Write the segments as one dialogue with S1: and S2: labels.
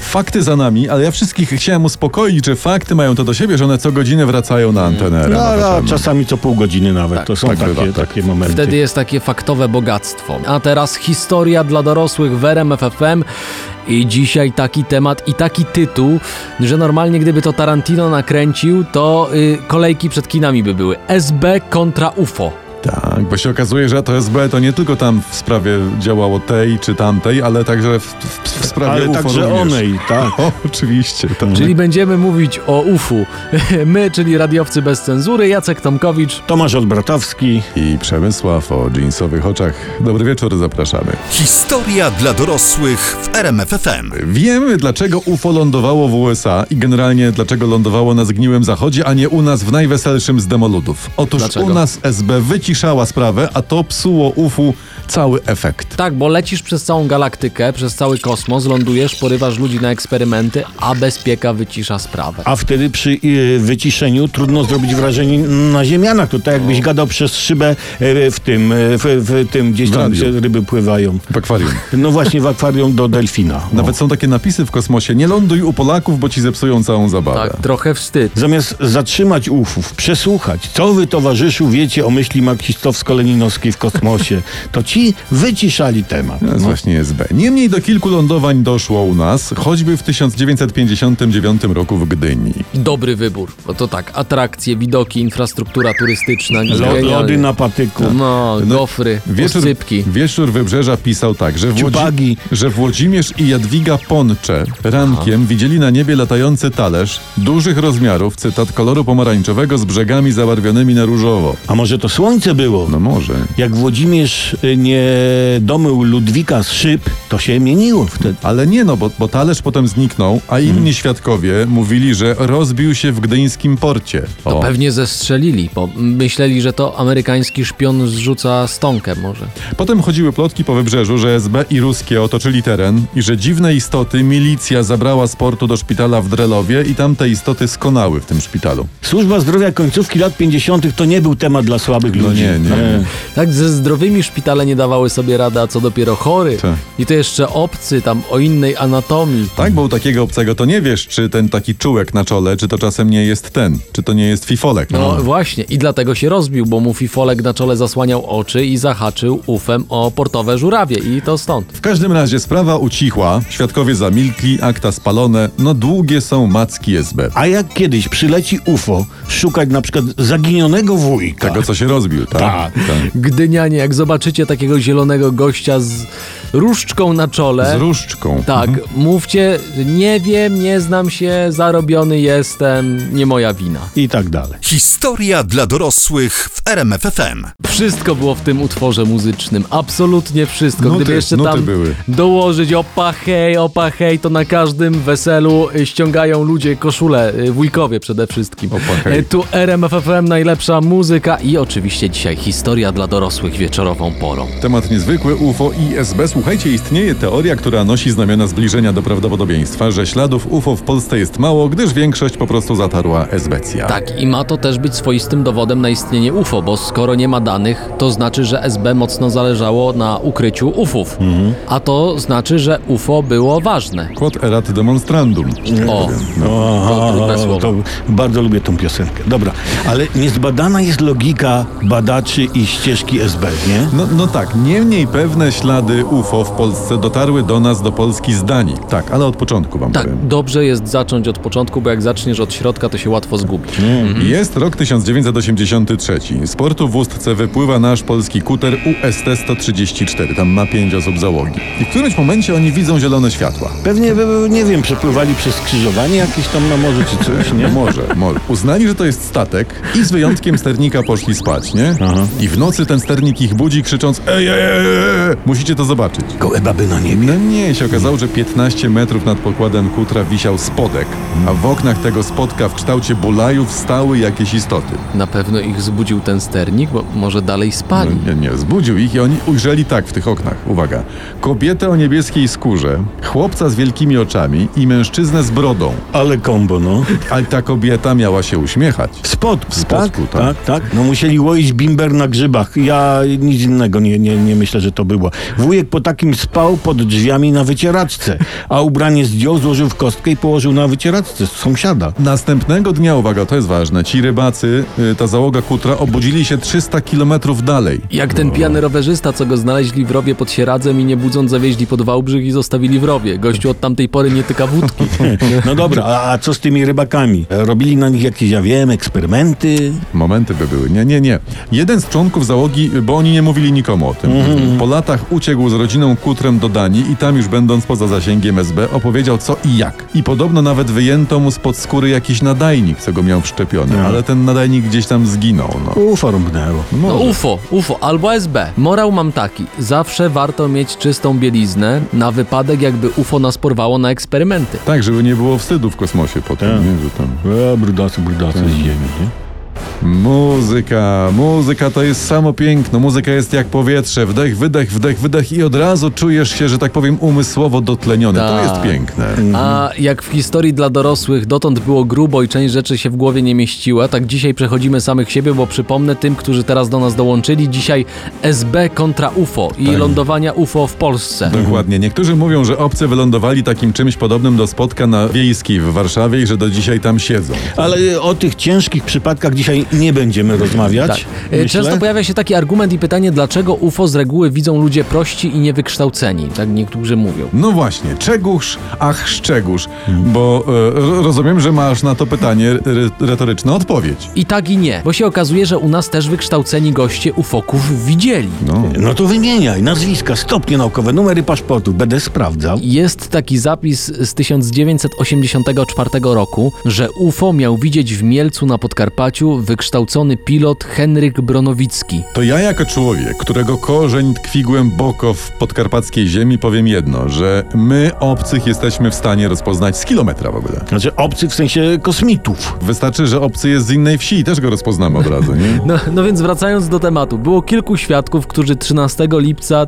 S1: fakty za nami, ale ja wszystkich chciałem uspokoić, że fakty mają to do siebie, że one co godzinę wracają na antenę.
S2: No,
S1: Rano
S2: no,
S1: FM.
S2: czasami co pół godziny nawet.
S1: Tak,
S2: to są
S1: tak
S2: takie,
S1: bywa, tak.
S2: takie momenty.
S3: Wtedy jest takie faktowe bogactwo. A teraz historia dla dorosłych w RMF FM. I dzisiaj taki temat i taki tytuł, że normalnie gdyby to Tarantino nakręcił, to y, kolejki przed kinami by były. SB kontra UFO.
S1: Tak, bo się okazuje, że to SB to nie tylko tam w sprawie działało tej czy tamtej, ale także w, w, w sprawie
S2: Ale
S1: UFO
S2: także
S1: również.
S2: onej, tak.
S1: O, oczywiście. Tak.
S3: Czyli będziemy mówić o UFU. My, czyli radiowcy bez cenzury, Jacek Tomkowicz.
S2: Tomasz Odbratowski.
S1: I Przemysław o dżinsowych oczach. Dobry wieczór, zapraszamy.
S4: Historia dla dorosłych w RMFFM.
S1: Wiemy, dlaczego UFO lądowało w USA i generalnie dlaczego lądowało na zgniłym zachodzie, a nie u nas w najweselszym z demoludów. Otóż
S3: Dlaczego?
S1: u nas SB wyciszała sprawę, a to psuło UFU cały efekt.
S3: Tak, bo lecisz przez całą galaktykę, przez cały kosmos, lądujesz, porywasz ludzi na eksperymenty, a bezpieka wycisza sprawę.
S2: A wtedy przy y, wyciszeniu trudno zrobić wrażenie na ziemianach. To tak
S1: No.
S2: jakbyś gadał przez szybę y, w tym, y, w, w tym gdzieś
S1: W
S2: tam
S1: radiu.
S2: się ryby pływają.
S1: W akwarium.
S2: No właśnie w akwarium do delfina. No.
S1: Nawet są takie napisy w kosmosie: nie ląduj u Polaków, bo ci zepsują całą zabawę.
S3: Tak, trochę wstyd.
S2: Zamiast zatrzymać ufów, przesłuchać, co wy towarzyszu wiecie o myśli marksistowsko-leninowskiej w kosmosie, to ci wyciszali temat.
S1: To jest
S2: No.
S1: właśnie SB. Niemniej do kilku lądowań doszło u nas, choćby w 1959 roku w Gdyni.
S3: Dobry wybór, bo to tak, atrakcje, widoki, infrastruktura turystyczna,
S2: Lo- Lody
S3: genialnie.
S2: na patyku.
S3: No,
S1: No,
S3: gofry,
S1: Wieczór,
S3: oscypki.
S1: wieczór Wybrzeża pisał tak, że, Włodzi,
S2: Dziubagi.
S1: że Włodzimierz i Jadwiga Poncze rankiem widzieli na niebie latający talerz dużych rozmiarów, cytat, koloru pomarańczowego z brzegami zabarwionymi na różowo.
S2: A może to słońce było?
S1: No może.
S2: Jak Włodzimierz y, nie domył Ludwika z szyb, to się mieniło wtedy.
S1: Ale nie no, bo, bo talerz potem zniknął, a inni
S3: Hmm.
S1: świadkowie mówili, że rozbił się w gdyńskim porcie.
S3: To
S1: O.
S3: pewnie zestrzelili, bo myśleli, że to amerykański szpion zrzuca stonkę może.
S1: Potem chodziły plotki po wybrzeżu, że SB i ruskie otoczyli teren i że dziwne istoty milicja zabrała z portu do szpitala w Drelowie i tamte istoty skonały w tym szpitalu.
S2: Służba zdrowia końcówki lat 50. to nie był temat dla słabych
S1: No
S2: ludzi. E.
S1: nie, nie, nie.
S3: Tak, ze zdrowymi szpitale nie dawały sobie rady, a co dopiero chory.
S1: Tak.
S3: I to jeszcze obcy, tam o innej anatomii.
S1: Tak, bo u takiego obcego to nie wiesz, czy ten taki czułek na czole, czy to czasem nie jest ten, czy to nie jest fifolek.
S3: No właśnie, i dlatego się rozbił, bo mu fifolek na czole zasłaniał oczy i zahaczył ufem o portowe żurawie i to stąd.
S1: W każdym razie sprawa ucichła, świadkowie zamilkli, akta spalone, no długie są macki SB.
S2: A jak kiedyś przyleci UFO szukać na przykład zaginionego wujka,
S1: Tego, co się rozbił, tak?
S2: Tak.
S3: Gdynianie, jak zobaczycie takiego zielonego gościa z różdżką na czole...
S1: Z Mhm. różdżką.
S3: Tak, mówcie, nie wiem, nie znam się, zarobiony jestem, nie moja wina.
S2: i tak dalej.
S4: Historia dla dorosłych w RMFFM.
S3: Wszystko było w tym utworze muzycznym, absolutnie wszystko.
S1: Nuty,
S3: Gdyby jeszcze
S1: nuty
S3: tam
S1: były.
S3: dołożyć opa hej, opa hej, to na każdym weselu y, ściągają ludzie koszule, y, wujkowie przede wszystkim.
S1: Opa hej.
S3: Y, Tu RMFFM, najlepsza muzyka i oczywiście dzisiaj historia dla dorosłych wieczorową porą.
S1: Temat niezwykły UFO i SB. Słuchajcie, istnieje teoria, która nosi znamiona zbliżenia do prawdopodobieństwa, że śladów UFO w Polsce jest mało, gdyż większość po prostu zatarła SBcja.
S3: Tak, i ma to też być swoistym dowodem na istnienie UFO, bo skoro nie ma danych, to znaczy, że SB mocno zależało na ukryciu UFów. A to znaczy, że UFO było ważne.
S1: Quod erat demonstrandum.
S3: O,
S1: No,
S3: To trudne słowo.
S2: to bardzo lubię tą piosenkę. Dobra, ale niezbadana jest logika badaczy i ścieżki SB, nie?
S1: No, no tak, niemniej pewne ślady UFO w Polsce dotarły do nas, do Polski z Danii. Tak, ale od początku wam
S3: tak,
S1: powiem.
S3: dobrze jest zacząć od początku, bo jak zaczniesz od środka, to się łatwo zgubisz.
S1: Jest rok 1983. Z portu w Ustce wypływa nasz polski kuter UST-134. Tam ma pięć osób załogi. I w którymś momencie oni widzą zielone światła.
S2: Pewnie, by- nie wiem, przepływali przez skrzyżowanie jakieś tam na morzu czy coś, nie?
S1: No może, może. Uznali, że to jest statek i z wyjątkiem sternika poszli spać, nie? I w nocy ten sternik ich budzi krzycząc ej, ej, ej, ej, ej! musicie to zobaczyć.
S2: Gołe baby na niebie.
S1: No nie, się okazało, że 15 metrów nad pokładem kutra wisiał spodek, a w oknach tego spodka w kształcie bulajów stały jakieś istoty. No
S3: Na pewno ich zbudził ten sternik, bo może dalej spali.
S1: Nie, nie, zbudził ich i oni ujrzeli tak w tych oknach. Uwaga. Kobietę o niebieskiej skórze, chłopca z wielkimi oczami i mężczyznę z brodą.
S2: Ale kombo, no.
S1: Ale ta kobieta miała się uśmiechać.
S2: W spodku,
S1: spodku,
S2: tak?
S1: tak.
S2: tak? Tak, No musieli łoić bimber na grzybach. Ja nic innego nie, nie, nie myślę, że to było. Wujek po takim spał pod drzwiami na wycieraczce, a ubranie zdjął, złożył w kostkę i położył na wycieraczce sąsiada.
S1: Następnego dnia, uwaga, to jest ważne, ci rybacy, y, ta załoga kutra obudzili się 300 kilometrów dalej.
S3: Jak ten pijany rowerzysta, co go znaleźli w rowie pod Sieradzem i nie budząc zawieźli pod Wałbrzych i zostawili w rowie. Gościu od tamtej pory nie tyka wódki.
S2: No dobra, a, a co z tymi rybakami? E, Robili na nich jakieś, ja wiem, eksperymenty?
S1: Momenty by były. Nie, nie, nie. Jeden z członków załogi, y, bo oni nie mówili nikomu o tym, po latach uciekł z rodziną kutrem do Danii i tam już będąc poza zasięgiem SB opowiedział co i jak. I podobno nawet wyjęto mu spod skóry jakiś nadajnik, co go miał wszczepiony, ale ten nadajnik gdzieś tam zginął. No.
S2: Uformknęło.
S3: No UFO, UFO albo SB. Morał mam taki. Zawsze warto mieć czystą bieliznę na wypadek, jakby UFO nas porwało na eksperymenty.
S1: Tak, żeby nie było wstydu w kosmosie potem,
S2: Tak.
S1: nie? Że tam...
S2: E, brudacy, brudacy z ziemi, nie?
S1: Muzyka, muzyka to jest samo piękno, muzyka jest jak powietrze, wdech, wydech, wdech, wydech i od razu czujesz się, że tak powiem, umysłowo dotleniony. To
S3: Tak.
S1: jest piękne.
S3: A jak w historii dla dorosłych dotąd było grubo i część rzeczy się w głowie nie mieściła, tak dzisiaj przechodzimy samych siebie, bo przypomnę tym, którzy teraz do nas dołączyli, dzisiaj SB kontra UFO i lądowania UFO w Polsce.
S1: Dokładnie. Niektórzy mówią, że obcy wylądowali takim czymś podobnym do spotka na wiejskiej w Warszawie i że do dzisiaj tam siedzą.
S2: Ale o tych ciężkich przypadkach dzisiaj nie będziemy rozmawiać.
S3: Tak. E,
S2: myślę.
S3: Często pojawia się taki argument i pytanie, dlaczego UFO z reguły widzą ludzie prości i niewykształceni, tak niektórzy mówią.
S1: No właśnie, czegóż, ach szczegóż, bo e, ro- rozumiem, że masz na to pytanie ry- retoryczną odpowiedź.
S3: I tak i nie, bo się okazuje, że u nas też wykształceni goście ufoków widzieli.
S1: No.
S2: No to wymieniaj nazwiska, stopnie naukowe, numery paszportów, będę sprawdzał.
S3: Jest taki zapis z 1984 roku, że UFO miał widzieć w Mielcu na Podkarpaciu wykształcony pilot Henryk Bronowicki.
S1: To ja jako człowiek, którego korzeń tkwi głęboko w podkarpackiej ziemi, powiem jedno, że my obcych jesteśmy w stanie rozpoznać z kilometra w ogóle.
S2: Znaczy obcy w sensie kosmitów.
S1: Wystarczy, że obcy jest z innej wsi i też go rozpoznamy od razu, nie?
S3: No, no więc wracając do tematu, było kilku świadków, którzy 13 lipca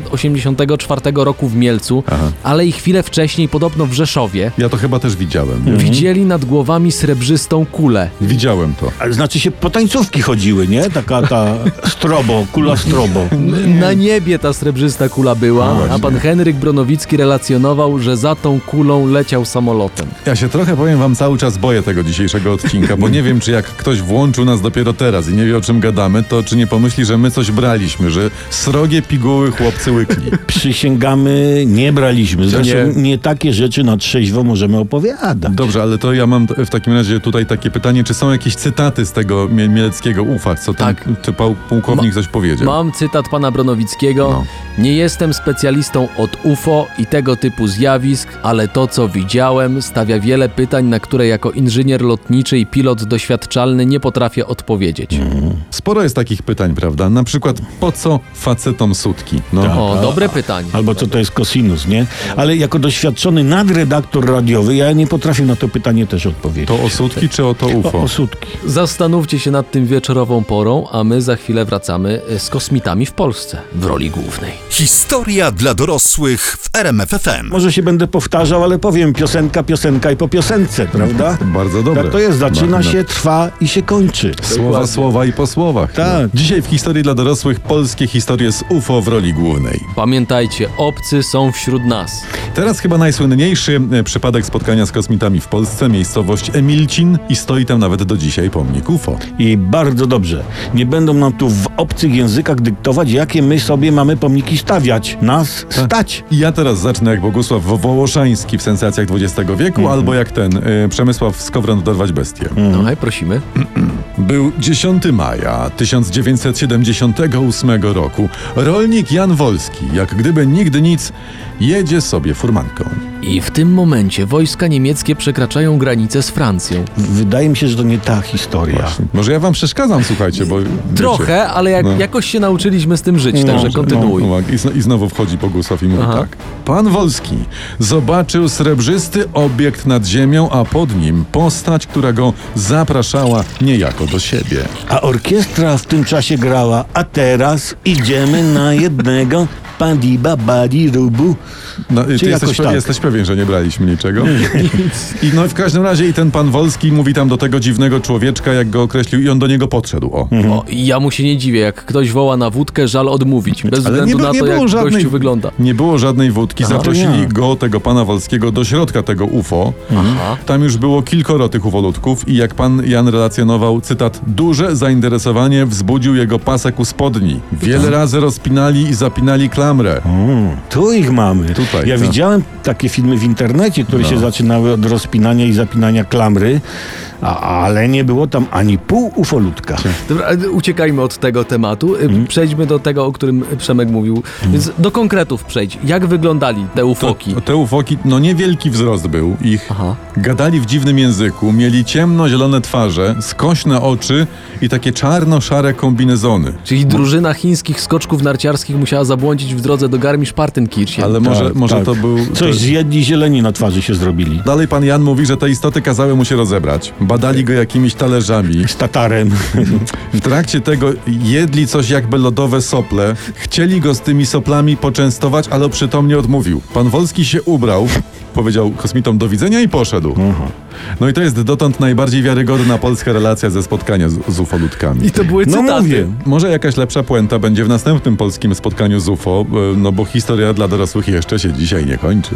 S3: 1984 roku w Mielcu, ale i chwilę wcześniej podobno w Rzeszowie,
S1: Ja to chyba też widziałem. Nie?
S3: widzieli nad głowami srebrzystą kulę.
S1: Widziałem to.
S2: A Znaczy się po tańcówki chodziły, nie? Taka ta strobo, kula strobo.
S3: Na niebie ta srebrzysta kula była,
S2: No
S3: a pan Henryk Bronowicki relacjonował, że za tą kulą leciał samolotem.
S1: Ja się trochę, powiem wam, cały czas boję tego dzisiejszego odcinka, bo nie wiem, czy jak ktoś włączył nas dopiero teraz i nie wie, o czym gadamy, to czy nie pomyśli, że my coś braliśmy, że srogie piguły chłopcy łykli.
S2: Przysięgamy, nie braliśmy. Zresztą
S1: nie.
S2: nie. takie rzeczy na trzeźwo możemy opowiadać.
S1: Dobrze, ale to ja mam w takim razie tutaj takie pytanie, czy są jakieś cytaty z tego mie- mieleckiego ufa, co tam
S3: Tak.
S1: ty, pał, pułkownik coś powiedział?
S3: Mam cytat pana Bronowickiego.
S1: No.
S3: Nie jestem specjalistą od UFO i tego typu zjawisk, ale to, co widziałem, stawia wiele pytań, na które jako inżynier lotniczy i pilot doświadczalny nie potrafię odpowiedzieć.
S2: Mm,
S1: Sporo jest takich pytań, prawda? Na przykład, po co facetom sutki? No.
S3: O, dobre pytanie.
S2: Albo co to jest kosinus, nie? Ale jako doświadczony nadredaktor radiowy, ja nie potrafię na to pytanie też odpowiedzieć.
S1: To o sutki czy o to
S2: O,
S1: UFO?
S2: o sutki.
S3: Zastanówcie się nad tym wieczorową porą, a my za chwilę wracamy e, z kosmitami w Polsce w roli głównej.
S4: Historia dla dorosłych w RMFFM.
S2: Może się będę powtarzał, ale powiem piosenka, piosenka i po piosence, prawda?
S1: No, Bardzo dobre.
S2: Tak to jest, zaczyna
S1: Bardzo-
S2: się, trwa i się kończy.
S1: Słowa, słowa i po słowach.
S2: Tak.
S1: No. Dzisiaj w historii dla dorosłych polskie historie z UFO w roli głównej.
S3: Pamiętajcie, obcy są wśród nas.
S1: Teraz chyba najsłynniejszy e, przypadek spotkania z kosmitami w Polsce, miejscowość Emilcin i stoi tam nawet do dzisiaj pomnik UFO.
S2: I bardzo dobrze. Nie będą nam tu w obcych językach dyktować, jakie my sobie mamy pomniki stawiać. Nas
S1: Tak.
S2: stać.
S1: I ja teraz zacznę jak Bogusław Wo- Wołoszański w sensacjach XX wieku,
S3: Mhm.
S1: albo jak ten y, Przemysław Skowron dorwać bestię.
S3: No i prosimy.
S1: Był 10 maja 1978 roku. Rolnik Jan Wolski, jak gdyby nigdy nic, jedzie sobie furmanką.
S3: I w tym momencie wojska niemieckie przekraczają granicę z Francją.
S2: Wydaje mi się, że to nie ta historia.
S1: Może ja wam przeszkadzam, słuchajcie, bo... wiecie,
S3: Trochę, ale jak,
S1: No.
S3: jakoś się nauczyliśmy z tym żyć, także
S1: no,
S3: kontynuuj.
S1: no, uwaga. I, zno- I znowu wchodzi Bogusław i mówi
S3: Aha.
S1: tak. Pan Wolski zobaczył srebrzysty obiekt nad ziemią, a pod nim postać, która go zapraszała niejako do siebie.
S2: A orkiestra w tym czasie grała, a teraz idziemy na jednego Pandi babadi rubu.
S1: No, i
S2: Czy
S1: ty jesteś,
S2: jakoś
S1: pe-
S2: tak.
S1: jesteś pewien, że nie braliśmy niczego? I no i w każdym razie i ten pan Wolski mówi tam do tego dziwnego człowieczka, jak go określił, i on do niego podszedł. O.
S3: O, i ja mu się nie dziwię, jak ktoś woła na wódkę, żal odmówić. Bez
S1: Ale nie,
S3: względu
S1: by-
S3: na
S1: nie
S3: to,
S1: było
S3: jak
S1: żadnej,
S3: gościu wygląda.
S1: nie było żadnej wódki. Zaprosili
S2: nie.
S1: go, tego pana Wolskiego, do środka tego UFO.
S3: Aha.
S1: Tam już było kilkoro tych ufolutków i jak pan Jan relacjonował, cytat, duże zainteresowanie wzbudził jego pasek u spodni.
S3: Tak.
S1: Wiele razy rozpinali i zapinali klamrę.
S2: Mm, tu ich mamy.
S1: Tutaj, No.
S2: ja
S1: tak.
S2: widziałem takie filmy w internecie, które się zaczynały od rozpinania i zapinania klamry, a, ale nie było tam ani pół ufolutka.
S3: Dobra, ale uciekajmy od tego tematu. Y,
S1: Mhm.
S3: Przejdźmy do tego, o którym Przemek mówił. Więc do konkretów przejdź. Jak wyglądali te ufoki?
S1: To, te ufoki, no niewielki wzrost był ich.
S3: Aha.
S1: Gadali w dziwnym języku, mieli ciemno-zielone twarze, skośne oczy i takie czarno-szare kombinezony.
S3: Czyli drużyna chińskich skoczków narciarskich musiała zabłądzić w drodze do Garmisch-Partenkirchen.
S1: Ale może,
S2: Tak,
S1: może
S2: tak.
S1: to był... to-
S2: Coś zjedli zieleni na twarzy się zrobili.
S1: Dalej pan Jan mówi, że te istoty kazały mu się rozebrać. Badali go jakimiś talerzami.
S2: Z tatarem.
S1: W trakcie tego jedli coś jakby lodowe sople. Chcieli go z tymi soplami poczęstować, ale przytomnie odmówił. Pan Wolski się ubrał, powiedział kosmitom do widzenia i poszedł.
S2: Mhm.
S1: No i to jest dotąd najbardziej wiarygodna polska relacja ze spotkania z, z ufolutkami.
S3: I to były
S2: No
S3: cytaty.
S2: mówię.
S1: Może jakaś lepsza puenta będzie w następnym polskim spotkaniu z UFO, e, no bo historia dla dorosłych jeszcze się dzisiaj nie kończy.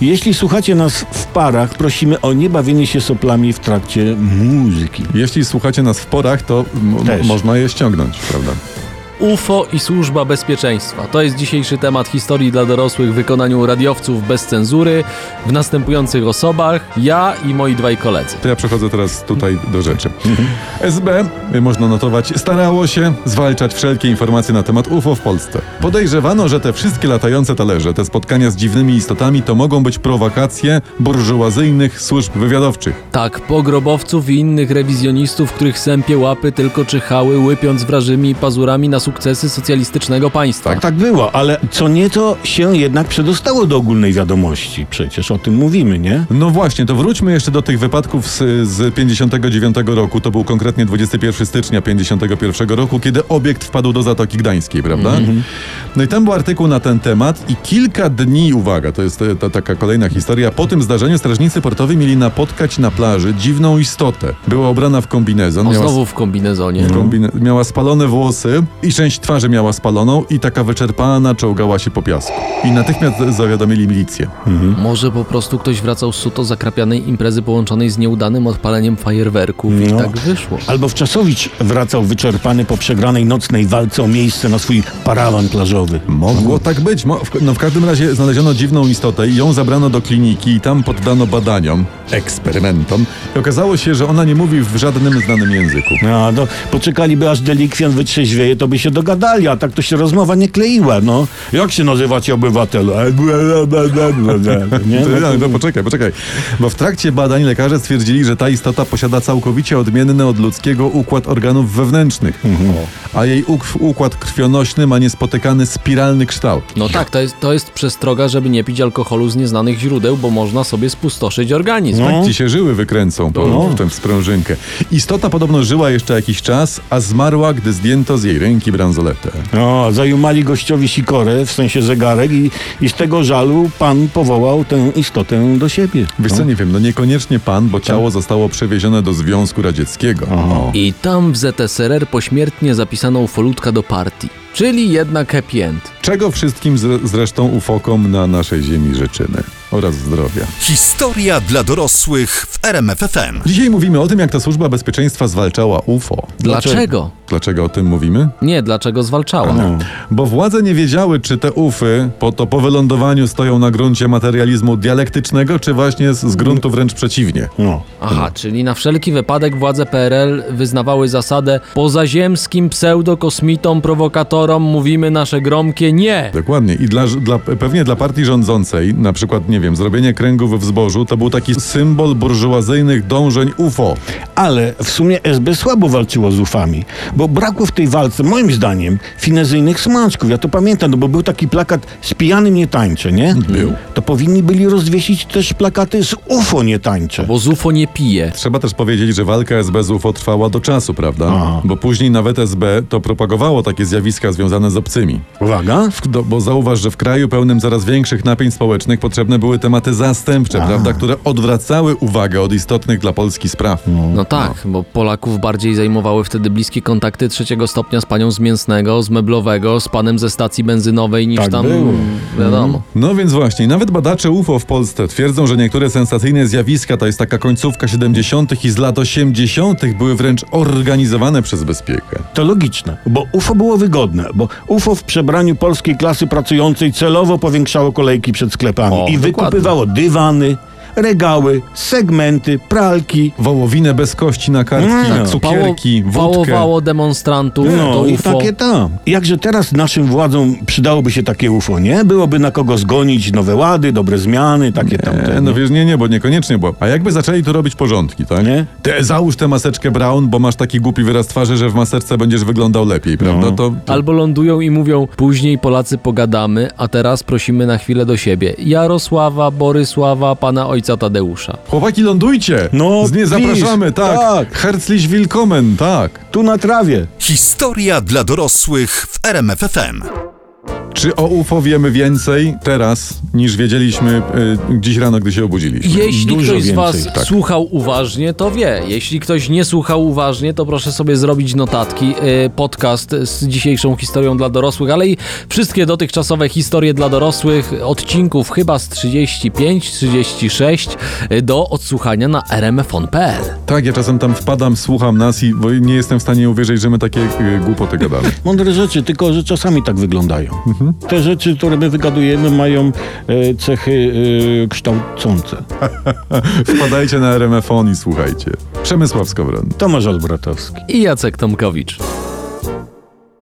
S2: Jeśli słuchacie nas w parach, prosimy o niebawienie się soplami w trakcie muzyki.
S1: Jeśli słuchacie nas w porach, to m- m-
S2: Też.
S1: można je ściągnąć, prawda?
S3: UFO i służba bezpieczeństwa. To jest dzisiejszy temat historii dla dorosłych w wykonaniu radiowców bez cenzury w następujących osobach. Ja i moi dwaj koledzy.
S1: To ja przechodzę teraz tutaj do rzeczy. SB, y, można notować, starało się zwalczać wszelkie informacje na temat UFO w Polsce. Podejrzewano, że te wszystkie latające talerze, te spotkania z dziwnymi istotami, to mogą być prowokacje burżuazyjnych służb wywiadowczych.
S3: Tak, pogrobowców i innych rewizjonistów, których sępie łapy tylko czyhały, łypiąc wrażymi pazurami na sukcesy socjalistycznego państwa.
S2: Tak, tak było, ale co nieco się jednak przedostało do ogólnej wiadomości. Przecież o tym mówimy, nie?
S1: No właśnie, to wróćmy jeszcze do tych wypadków z, z 59 roku. To był konkretnie 21 stycznia 51 roku, kiedy obiekt wpadł do Zatoki Gdańskiej, prawda?
S3: Mhm.
S1: No i tam był artykuł na ten temat i kilka dni, uwaga, to jest e, ta, taka kolejna historia, po tym zdarzeniu strażnicy portowi mieli napotkać na plaży dziwną istotę. Była ubrana w kombinezon.
S3: O,
S1: miała
S3: znowu w kombinezonie.
S2: Mhm.
S1: Kombine- miała spalone włosy i część twarzy miała spaloną i taka wyczerpana czołgała się po piasku. I natychmiast zawiadomili milicję.
S3: Mhm. Może po prostu ktoś wracał z suto zakrapianej imprezy połączonej z nieudanym odpaleniem fajerwerków i
S2: No.
S3: tak wyszło.
S2: Albo Wczasowicz wracał wyczerpany po przegranej nocnej walce o miejsce na swój parawan plażowy.
S1: Mogło tak być. Mo- w, no w każdym razie znaleziono dziwną istotę i ją zabrano do kliniki i tam poddano badaniom, eksperymentom i okazało się, że ona nie mówi w żadnym znanym języku.
S2: A, no, poczekaliby aż delikwent wytrzeźwieje, to by się dogadali, a tak to się rozmowa nie kleiła, no. Jak się nazywacie obywatelu? Nie?
S1: No, no poczekaj, poczekaj. Bo w trakcie badań lekarze stwierdzili, że ta istota posiada całkowicie odmienny od ludzkiego układ organów wewnętrznych,
S2: no.
S1: a jej uk- układ krwionośny ma niespotykany spiralny kształt.
S3: No tak, to jest, to jest przestroga, żeby nie pić alkoholu z nieznanych źródeł, bo można sobie spustoszyć organizm.
S1: Tak ci się żyły wykręcą po,
S2: No.
S1: w tę sprężynkę. Istota podobno żyła jeszcze jakiś czas, a zmarła, gdy zdjęto z jej ręki bransoletę.
S2: No, zajumali gościowi sikorę, w sensie zegarek i, i z tego żalu pan powołał tę istotę do siebie.
S1: Wiesz
S2: no.
S1: co, nie wiem, no niekoniecznie pan, bo ciało zostało przewiezione do Związku Radzieckiego. No. O.
S3: I tam w ZSRR pośmiertnie zapisano ufolutka do partii. Czyli jednak happy end.
S1: Czego wszystkim zre- zresztą ufokom na naszej ziemi życzymy. Oraz zdrowia.
S4: Historia dla dorosłych w RMFFM.
S1: Dzisiaj mówimy o tym, jak ta służba bezpieczeństwa zwalczała UFO.
S3: Dlaczego?
S1: Dlaczego o tym mówimy?
S3: Nie, dlaczego zwalczała?
S1: No. Bo władze nie wiedziały, czy te ufy po, to po wylądowaniu stoją na gruncie materializmu dialektycznego, czy właśnie z, z gruntu wręcz przeciwnie.
S2: No.
S3: Aha, czyli na wszelki wypadek władze PRL wyznawały zasadę pozaziemskim pseudokosmitom, prowokatorom mówimy nasze gromkie nie.
S1: Dokładnie. I dla, dla, pewnie dla partii rządzącej, na przykład, nie wiem, zrobienie kręgów w zbożu, to był taki symbol burżuazyjnych dążeń UFO.
S2: Ale w sumie SB słabo walczyło z ufami, bo brakło w tej walce, moim zdaniem, finezyjnych smaczków. Ja to pamiętam, no bo był taki plakat z pijanym nie tańczę, nie? Był. To powinni byli rozwiesić też plakaty z UFO nie tańczę.
S3: Bo ZUFO nie pije.
S1: Trzeba też powiedzieć, że walka SB z UFO trwała do czasu, prawda?
S2: Aha.
S1: Bo później nawet SB to propagowało takie zjawiska ryzyka związane z obcymi.
S2: Uwaga.
S1: W- Do, bo zauważ, że w kraju pełnym coraz większych napięć społecznych potrzebne były tematy zastępcze, prawda, które odwracały uwagę od istotnych dla Polski spraw.
S3: No tak, bo Polaków bardziej zajmowały wtedy bliskie kontakty trzeciego stopnia z panią z mięsnego, z meblowego, z panem ze stacji benzynowej niż
S2: Tak
S3: tam mm,
S2: było.
S3: wiadomo.
S1: No więc właśnie, nawet badacze UFO w Polsce twierdzą, że niektóre sensacyjne zjawiska, to jest taka końcówka 70. i z lat 80., były wręcz organizowane przez bezpiekę.
S2: To logiczne, bo UFO było wygodne, bo UFO w przebraniu polskiej klasy pracującej celowo powiększało kolejki przed sklepami
S3: O,
S2: i
S3: dokładnie.
S2: wykupywało dywany, regały, segmenty, pralki.
S1: Wołowinę bez kości na kartki,
S2: Mm.
S1: cukierki,
S3: Pało-
S1: wódkę.
S3: Pałowało demonstrantów, to
S2: No i
S3: UFO.
S2: takie tam. Jakże teraz naszym władzom przydałoby się takie UFO, nie? Byłoby na kogo zgonić nowe łady, dobre zmiany, takie
S1: E,
S2: tamte.
S1: no wiesz, nie, nie, bo niekoniecznie, bo... A jakby zaczęli tu robić porządki, tak?
S2: Nie.
S1: Te, załóż tę maseczkę Brown, bo masz taki głupi wyraz twarzy, że w maseczce będziesz wyglądał lepiej, prawda?
S2: No.
S1: To, to...
S3: Albo lądują i mówią, później Polacy pogadamy, a teraz prosimy na chwilę do siebie. Jarosława, Borysława, pana ojca Tadeusza.
S1: Chłopaki, lądujcie!
S2: No,
S1: Z nie
S2: please,
S1: zapraszamy, tak!
S2: tak.
S1: Herzlich willkommen, tak!
S2: Tu na trawie.
S4: Historia dla dorosłych w RMFFM.
S1: Czy o UFO wiemy więcej teraz, niż wiedzieliśmy y, dziś rano, gdy się obudziliśmy?
S3: Jeśli
S2: Dużo
S3: ktoś z Was
S2: więcej, tak.
S3: słuchał uważnie, to wie. Jeśli ktoś nie słuchał uważnie, to proszę sobie zrobić notatki. y, Podcast z dzisiejszą historią dla dorosłych, ale i wszystkie dotychczasowe historie dla dorosłych odcinków chyba z 35, 36 y, do odsłuchania na rmfon.pl.
S1: Tak, ja czasem tam wpadam, słucham nas i bo nie jestem w stanie uwierzyć, że my takie y, głupoty gadamy.
S2: Mądre rzeczy, tylko że czasami tak wyglądają.
S3: Mhm.
S2: Te rzeczy, które my wygadujemy, mają e, cechy e, kształcące.
S1: Wpadajcie na RMFon i słuchajcie. Przemysław Skowron.
S2: Tomasz Olbratowski.
S3: I Jacek Tomkowicz.